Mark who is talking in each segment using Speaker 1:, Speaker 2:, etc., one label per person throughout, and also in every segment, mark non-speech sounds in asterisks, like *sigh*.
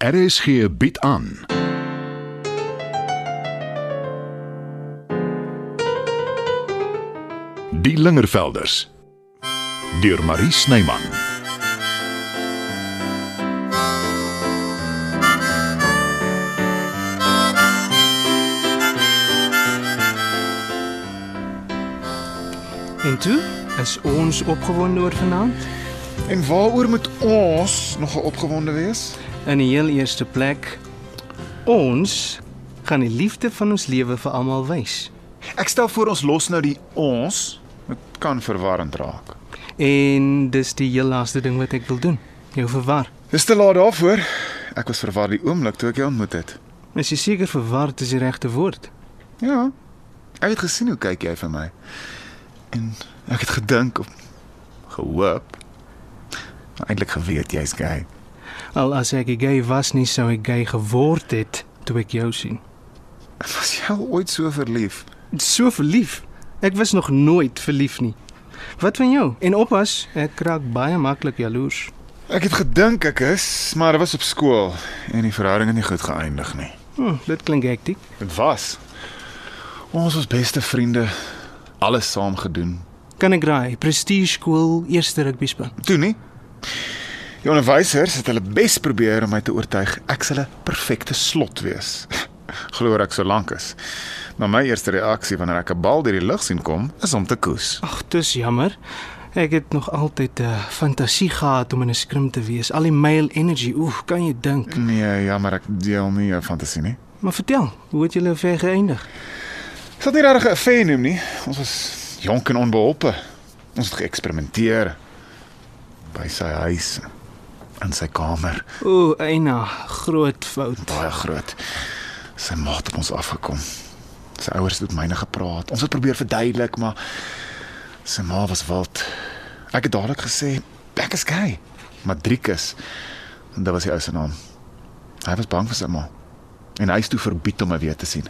Speaker 1: RSG bied aan. Die Lingervelders deur Marie Snyman.
Speaker 2: En toe is ons opgewonde oor vanaand.
Speaker 3: En waaroor moet ons nog opgewonde wees?
Speaker 2: In die heel eerste plek ons gaan die liefde van ons lewe vir almal wys.
Speaker 3: Ek stel voor ons los nou die ons. Dit kan verwarrend raak.
Speaker 2: En dis die heel laaste ding wat ek wil doen. Jou verwar.
Speaker 3: Dis te laat daarvoor. Ek was verward die oomblik toe ek jou ontmoet het.
Speaker 2: Is jy seker verward is die regte woord?
Speaker 3: Ja. Ek het gesien hoe kyk jy vir my. En ek het gedink of gehoop. maar Eintlik geweet jy's gay.
Speaker 2: Al as ek nie gay was nie, sou ek gay geword het toe ek jou sien.
Speaker 3: Was jy al ooit so verlief?
Speaker 2: So verlief. Ek was nog nooit verlief nie. Wat van jou? En oppas, ek raak baie maklik jaloers.
Speaker 3: Ek het gedink ek is, maar dit was op skool en die verhouding het nie goed geëindig nie.
Speaker 2: Hm, dit klink hektiek.
Speaker 3: Dit was. Ons was beste vriende. Alles saam gedoen.
Speaker 2: Kan ek raai? Prestige skool, eerste rugby span.
Speaker 3: Toe nie. Die onderwysers het hulle bes probeer om my te oortuig ek sal 'n perfekte slot wees. *laughs* Glo ek so lank is. Maar my eerste reaksie wanneer ek 'n bal deur die lug sien kom, is om te koes.
Speaker 2: Ag, dis jammer. Ek het nog altyd 'n uh, fantasie gehad om in 'n skrim te wees. Al die male energy. Oef, kan jy dink?
Speaker 3: Nee, jammer ek deel nie jou fantasie nie.
Speaker 2: Maar vertel, hoe het julle ver geëindig?
Speaker 3: Ek sal nie regtig 'n affair noem nie. Ons was jonk en onbeholpe. Ons het geëksperimenteer by sy huis en sy kamer,
Speaker 2: Ooh, Eina, groot fout.
Speaker 3: baie groot. Sy maat het ons afgekom. Sy ouers het met myne gepraat. Ons het probeer verduidelik, maar sy ma was wild. Ek het dadelik gesê ek is gay. Madrikus. En dit was sy ou se naam. Hy was bang vir sy ma. En hy is toe verbied om my weer te sien.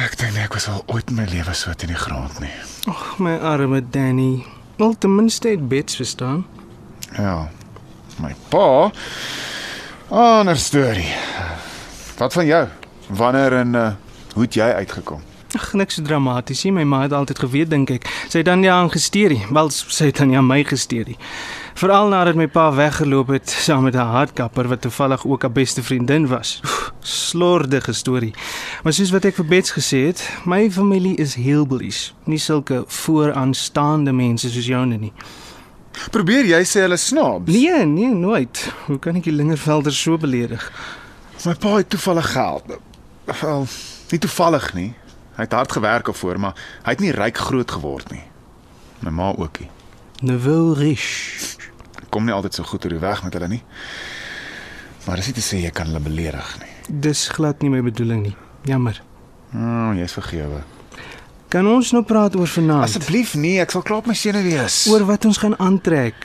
Speaker 3: Ek dink nie ek was al ooit in my lewe so teen die grond nie.
Speaker 2: Ag, my arme Danny. Wel ten minste het Bets verstaan.
Speaker 3: Ja. My pa. Ander storie. Wat van jou? Wanneer en uh, hoe het jy uitgekom?
Speaker 2: Ag, niks so dramaties nie. My ma het altyd geweet dink ek. Sy het dan ja aangesteerie. Wel, s- sy het dan ja my gesteerie. Veral nadat my pa weggeloop het saam met haar hardkapper wat toevallig ook haar beste vriendin was. Oef, Slordige storie. Maar soos wat ek vir Bets gesê het, my familie is heel belies. Nie sulke vooraanstaande mense soos joune nie.
Speaker 3: Probeer jy sê hulle snaps?
Speaker 2: Nee, nee, nooit. Hoe kan ek die Lingervelder so beledig?
Speaker 3: My pa het toevallig geld. Wel, nie toevallig nie. Hy het hard gewerk daarvoor, maar hy het nie ryk groot geword nie. My ma ook nie.
Speaker 2: Nouveau riche.
Speaker 3: Kom nie altyd so goed oor die weg met hulle nie. Maar dis nie te sê jy kan hulle beledig nie.
Speaker 2: Dis glad nie my bedoeling nie. Jammer.
Speaker 3: Mm, jy's vergewe.
Speaker 2: Kan ons nou praat oor vanaand?
Speaker 3: Asseblief nee, ek sal klaar op my sene wees.
Speaker 2: oor wat ons gaan aantrek,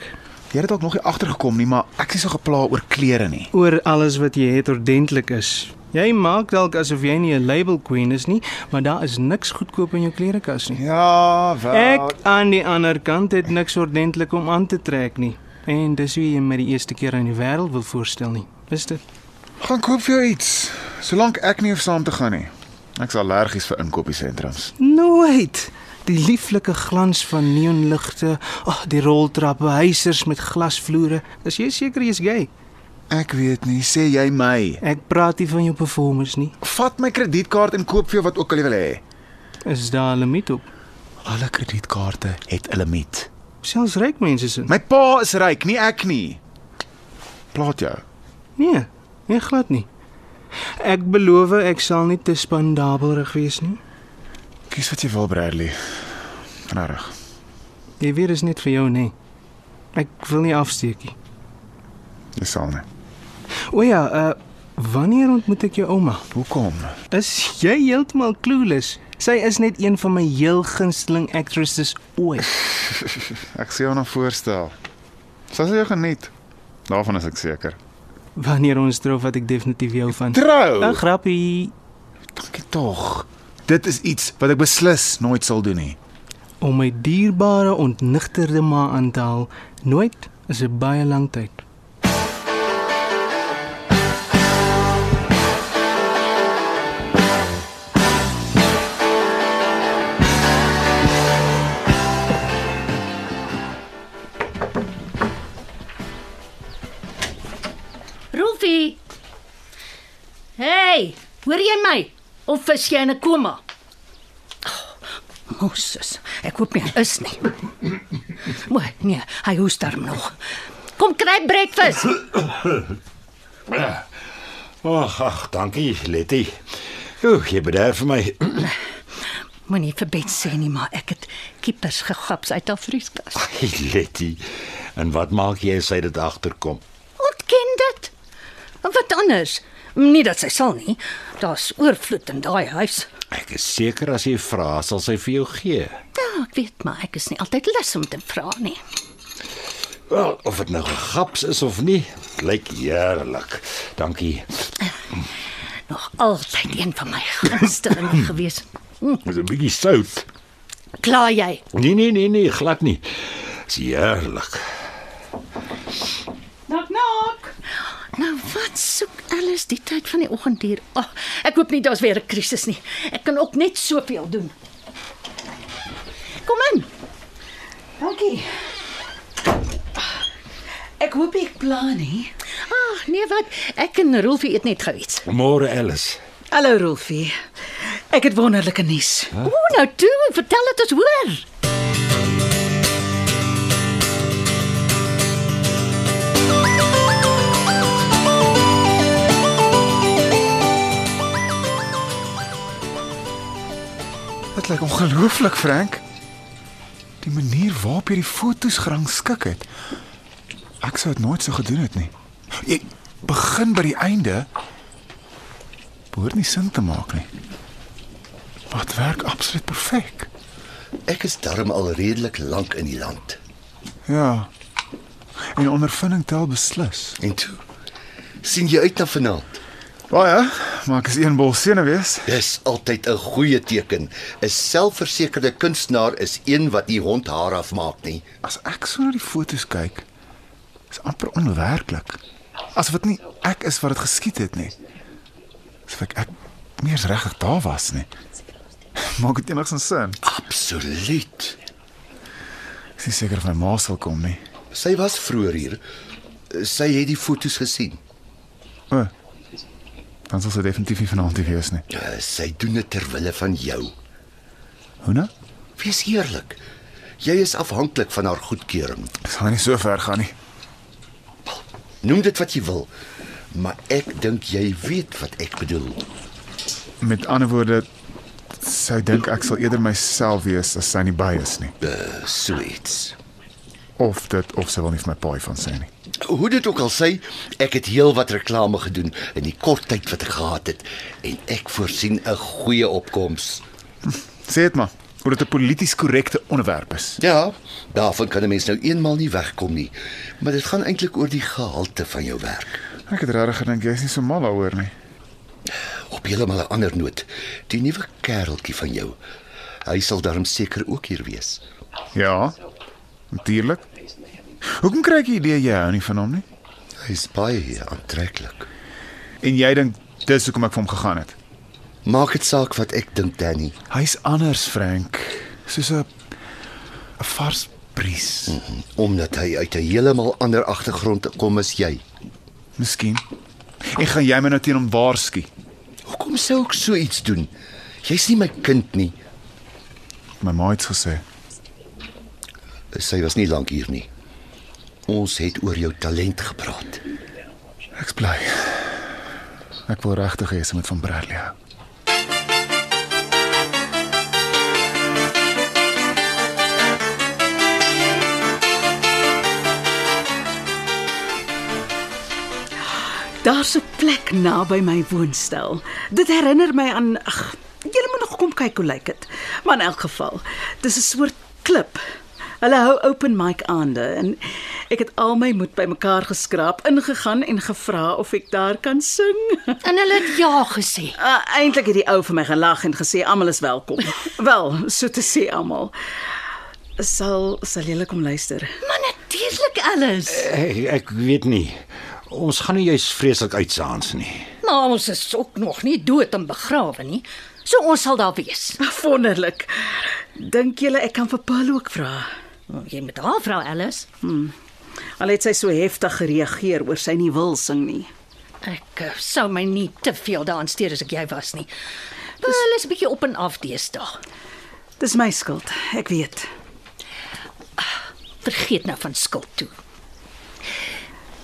Speaker 3: Jy het dalk nog nie agtergekom nie, maar ek is so gepla oor klere nie.
Speaker 2: oor alles wat jy het ordentlik is. Jy maak dalk asof jy nie 'n label queen is nie, maar daar is niks goedkoop in jou klerekas nie.
Speaker 3: Ja, wel.
Speaker 2: Ek aan die ander kant het niks ordentlik om aan te trek nie. En dis hoe jy my die eerste keer aan die wêreld wil voorstel nie. Is dit?
Speaker 3: gaan koop vir jou iets, solank ek nie hoef saam te gaan nie. Ek's allergies vir inkopiesentrums.
Speaker 2: Nooit. Die lieflike glans van neonligte, ag, oh, die roltrappe, huisers met glasvloere. Is jy seker jy's gay?
Speaker 3: Ek weet nie, sê jy my.
Speaker 2: Ek praat nie van jou performance nie.
Speaker 3: Vat my kredietkaart en koop vir jou wat ook al jy wil hê.
Speaker 2: Is daar 'n limiet op?
Speaker 3: Alle kredietkaarte het 'n limiet.
Speaker 2: Selfs ryk mense se.
Speaker 3: My pa is ryk, nie ek nie. Plaat jou.
Speaker 2: Nee, nee glad nie. Ek beloof ek sal nie te spandabelrig wees nie.
Speaker 3: Kies wat jy wil, Bradley. Regtig.
Speaker 2: Jy weet is net vir jou nê. Ek wil nie afsteek nie.
Speaker 3: Jy sal nie.
Speaker 2: O ja, uh wanneer ontmoet ek jou ouma?
Speaker 3: Hoekom?
Speaker 2: Is jy heeltemal clueless? Sy is net een van my heel gunsteling actresses ooit.
Speaker 3: Ek sien jou na voorstel. Sal jy geniet. Daarvan is ek seker.
Speaker 2: Wanneer ons trou wat ek definitief jou van.
Speaker 3: Trou.
Speaker 2: 'n Grappie.
Speaker 3: Dankie tog. Dit is iets wat ek beslis nooit sal doen nie.
Speaker 2: Om my dierbare ontnigterde ma aan te haal, nooit is 'n baie lang tyd.
Speaker 4: Koffie. Hey, hoor jy my? Of vis jy in 'n koma? Oh, Moses, ek hoop nie hy is nie. Maar nee, hy hoes daar nog. Kom kry breakfast.
Speaker 5: Ag, ag, dankie, Letty. Oek, jy bederf my. *clears throat*
Speaker 4: Moenie vir Bet sê nie, maar ek het kiepers gegaps uit haar vrieskas.
Speaker 5: Letty. En wat maak jy as hy dit agterkom?
Speaker 4: Ontken dit. En Wat anders? Nie dat sy sal nie. Daar's oorvloed in daai huis.
Speaker 5: Ek is seker as jy vra, sal sy vir jou gee.
Speaker 4: Ja, ek weet maar ek is nie altyd lus om te vra nie.
Speaker 5: Wel, of dit nou 'n gaps is of nie, dit lyk heerlik. Dankie.
Speaker 4: Nog altyd een van my gunstelinge gewees.
Speaker 5: Met 'n bietjie sout.
Speaker 4: Klaar jy?
Speaker 5: Nee, nee, nee, nee, glad nie. Dis heerlik.
Speaker 2: Nak nak.
Speaker 4: Nou wat soek Alice die tyd van die oggend hier? Ag, oh, ek hoop nie daar's weer 'n krisis nie. Ek kan ook net soveel doen. Kom in.
Speaker 6: Dankie. Ek hoop ek pla nie.
Speaker 4: Ag, nee wat? Ek en Rolfie eet net gou iets.
Speaker 5: Môre Alice.
Speaker 6: Hallo Rolfie. Ek het wonderlike nuus.
Speaker 4: O, nou toe, vertel dit ons hoor.
Speaker 3: Dit lyk ongelooflik, Frank. Die manier waarop jy die fotos gerangskik het. Ek sou dit nooit so gedoen het nie. Jy begin by die einde. Behoort nie sin te maak nie. Wat werk absoluut perfek.
Speaker 7: Ek is darm al redelik lank in die land.
Speaker 3: Ja. En die ondervinding tel beslis.
Speaker 7: En toe sien jy uit na vanaand.
Speaker 3: Baie, maar ek is een bol senuwees.
Speaker 7: Dis altyd 'n goeie teken. 'n Selfversekerde kunstenaar is een wat nie hond haar afmaak nie.
Speaker 3: As ek so na die fotos kyk, is amper onwerklik. Asof dit nie ek is wat dit geskiet het nie. Asof ek, ek nie eens regtig daar was nie. *laughs* Maak dit enigstens sin.
Speaker 7: Absoluut.
Speaker 3: Ek is nie seker of my ma sal kom nie.
Speaker 7: Sy was vroeër hier. Sy het die foto's gesien.
Speaker 3: O. Dan sal sy definitief nie vanaand hier wees nie.
Speaker 7: Eh, Sy doen dit ter wille van jou.
Speaker 3: Hoe nou?
Speaker 7: Wees eerlik. Jy is afhanklik van haar goedkeuring.
Speaker 3: Ek sal nie so ver gaan nie.
Speaker 7: Noem dit wat jy wil, maar ek dink jy weet wat ek bedoel.
Speaker 3: Met ander woorde, sy dink ek sal eerder myself wees as sy nie by is nie.
Speaker 7: Uh, so iets.
Speaker 3: Of dit of sy wil nie vir my paai van sê nie.
Speaker 7: Hoe dit ook al sê, ek het heelwat reklame gedoen in die kort tyd wat ek gehad het en ek voorsien 'n goeie opkoms.
Speaker 3: Sê dit maar, hoe dit 'n polities korrekte onderwerp is.
Speaker 7: Ja, daarvan kan 'n mens nou eenmal nie wegkom nie, maar dit gaan eintlik oor die gehalte van jou werk.
Speaker 3: Ek het regtig gedink jy's nie so mal daaroor nie.
Speaker 7: Op heeltemal 'n ander noot, die nuwe kereltjie van jou. Hy sal darm seker ook hier wees.
Speaker 3: Ja. Natuurlik. Hoekom kry ek die idee jy hou nie van nee? hom nie?
Speaker 7: Hy's baie aantreklik.
Speaker 3: En jy dink dis hoekom ek vir hom gegaan het.
Speaker 7: Maak dit saak wat ek dink, Danny.
Speaker 3: Hy's anders, Frank. Soos 'n 'n vars bries.
Speaker 7: Omdat hy uit 'n heeltemal ander agtergrond kom as jy.
Speaker 3: Miskien. En gaan jy my nou teen hom waarsku?
Speaker 7: Hoekom sou ek so iets doen? Jy's nie my kind nie.
Speaker 3: My ma het gesê.
Speaker 7: Sy was nie lank hier nie. Ons het oor jou talent gepraat.
Speaker 3: Ek's bly. Ek wil regtig hê sy moet van Bradley hou.
Speaker 6: Daar's 'n plek naby my woonstel. Dit herinner my aan ag, jy moet nog kom kyk hoe lyk dit. Maar in elk geval, dis 'n soort klip. Hulle hou open mic aande en ek het al my moed bymekaar geskraap, ingegaan en gevra of ek daar kan *laughs* sing.
Speaker 4: En hulle het ja gesê.
Speaker 6: Uh, Eintlik het die ou vir my gelag en gesê almal is welkom. *laughs* Wel, so te sê almal. Sal sal julle kom luister. *laughs*
Speaker 4: Maar natuurlik alles.
Speaker 5: Ek, ek weet nie. Ons gaan nie jy's vreeslik uitsaans nie.
Speaker 4: Maar ons is ook nog nie dood en begrawe nie. So ons sal daar wees.
Speaker 6: Wonderlik. Dink julle ek kan vir Paul ook vra?
Speaker 4: Oh, Jy moet haar vra Alice.
Speaker 6: Al het sy so heftig gereageer oor sy nie wil sing nie.
Speaker 4: Ek eh, sou my nie te veel daaraan steur as ek jy was nie. Wel, Hulle is 'n bietjie op en af deesdae.
Speaker 6: Dis my skuld, ek weet.
Speaker 4: Vergeet nou van skuld toe.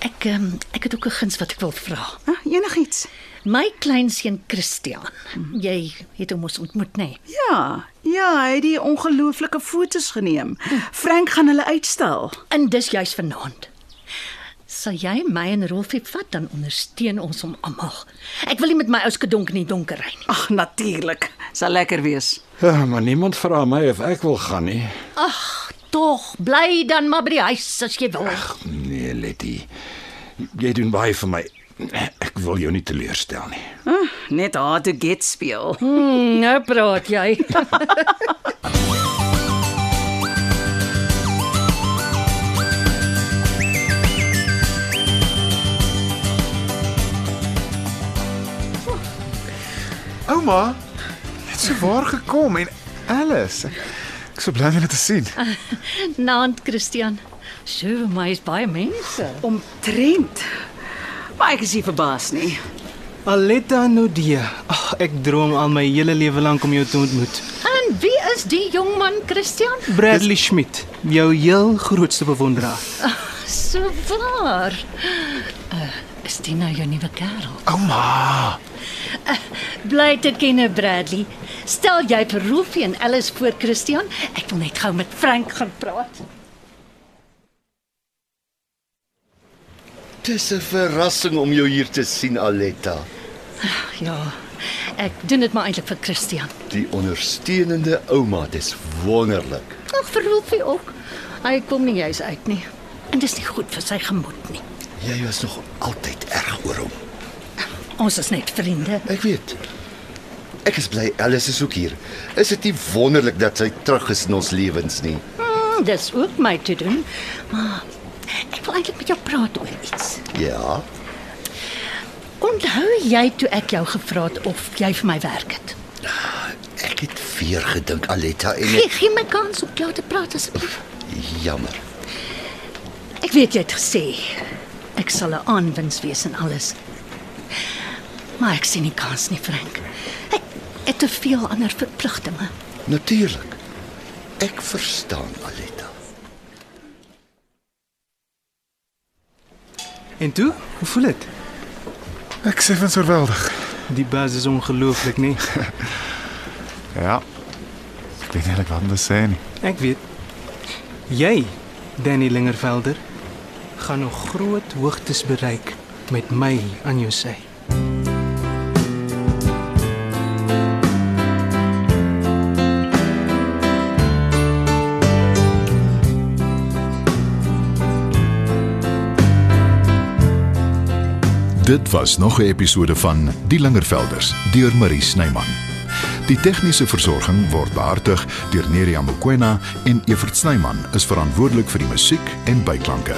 Speaker 4: Ek um, ek het ook 'n guns wat ek wil vra.
Speaker 6: Ah, enigiets.
Speaker 4: My kleinseun Christian, jy het hom ons ontmoet, nê? Nee?
Speaker 6: Ja, ja, hy het die ongelooflike fotos geneem. Frank gaan hulle uitstal.
Speaker 4: En dis juis vanaand. Sal jy my en Rolfie vat dan ondersteun ons hom almal. Ek wil nie met my ou skedonk in die donker ry nie.
Speaker 6: Ag, natuurlik. Sal lekker wees.
Speaker 5: Ja, maar niemand vra my of ek wil gaan nie.
Speaker 4: Tog, bly dan maar by die huis as jy wil.
Speaker 5: Nee, Letty. Jy doen baie vir my. Ek wil jou nie teleurstel nie.
Speaker 6: Ah, net haar to get speel.
Speaker 4: Hmm, nou praat *laughs* jy.
Speaker 3: Ouma, het so waar gekom en Alice. Ek, ek sou bly om julle te sien.
Speaker 4: Naand Christian. Sjoe, my is baie mense.
Speaker 6: Omtrent. Maar ek is nie verbaas nie.
Speaker 2: Aletta Nudee. Ag, ek droom al my hele lewe lank om jou te ontmoet.
Speaker 4: En wie is die jong man Christian?
Speaker 2: Bradley Schmidt, jou heel grootste bewonderaar.
Speaker 4: So waar. Uh, is dit nou jou nuwe kerel?
Speaker 3: Ouma,
Speaker 4: Eh, Bly te ken, Bradley. Stel jy vir Rolfie en Alice voor Christian? Ek wil net gou met Frank gaan praat.
Speaker 7: Dis 'n verrassing om jou hier te sien, Aletta.
Speaker 4: Ja. Ek doen dit maar eintlik vir Christian.
Speaker 7: Die ondersteunende ouma, dis wonderlik.
Speaker 4: Ag, vir Rolfie ook. Hy kom nie juis uit nie. En dis nie goed vir sy gemoed nie.
Speaker 7: Jy was nog altyd erg oor hom.
Speaker 4: Ons is net vriende.
Speaker 7: Ek weet. Ek is bly Alice is ook hier. Is dit nie wonderlik dat sy terug is in ons lewens nie?
Speaker 4: Hmm, dis ook my te doen. Maar ek wil eintlik met jou praat oor iets.
Speaker 7: Ja.
Speaker 4: Onthou jy toe ek jou gevra het of jy vir my werk het?
Speaker 7: Ek het weer gedink Aletta en
Speaker 4: Gee
Speaker 7: ek,
Speaker 4: gee my kans om klaar te praat asseblief.
Speaker 7: jammer.
Speaker 4: Ek weet jy het gesê ek sal 'n aanwins wees en alles. Maar ek sien nie kans nie, Frank. Ek het te veel ander verpligtinge.
Speaker 7: Natuurlik. Ek verstaan Aletta.
Speaker 2: En toe, hoe voel dit?
Speaker 3: ek sê van oorweldig.
Speaker 2: Die bas is ongelooflik, nee.
Speaker 3: Ja. Ek weet nie eintlik wat om te sê nie.
Speaker 2: Ek weet. Jy, Danny Lingervelder, gaan nog groot hoogtes bereik met my aan jou sy.
Speaker 1: Dit was nog 'n episode van Die Lingervelders deur Marie Snyman. Die tegniese versorging word behartig deur Neriya Mkwena en Evert Snyman is verantwoordelik vir die musiek en byklanke.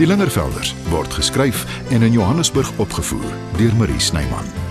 Speaker 1: Die Lingervelders word geskryf en in Johannesburg opgevoer deur Marie Snyman.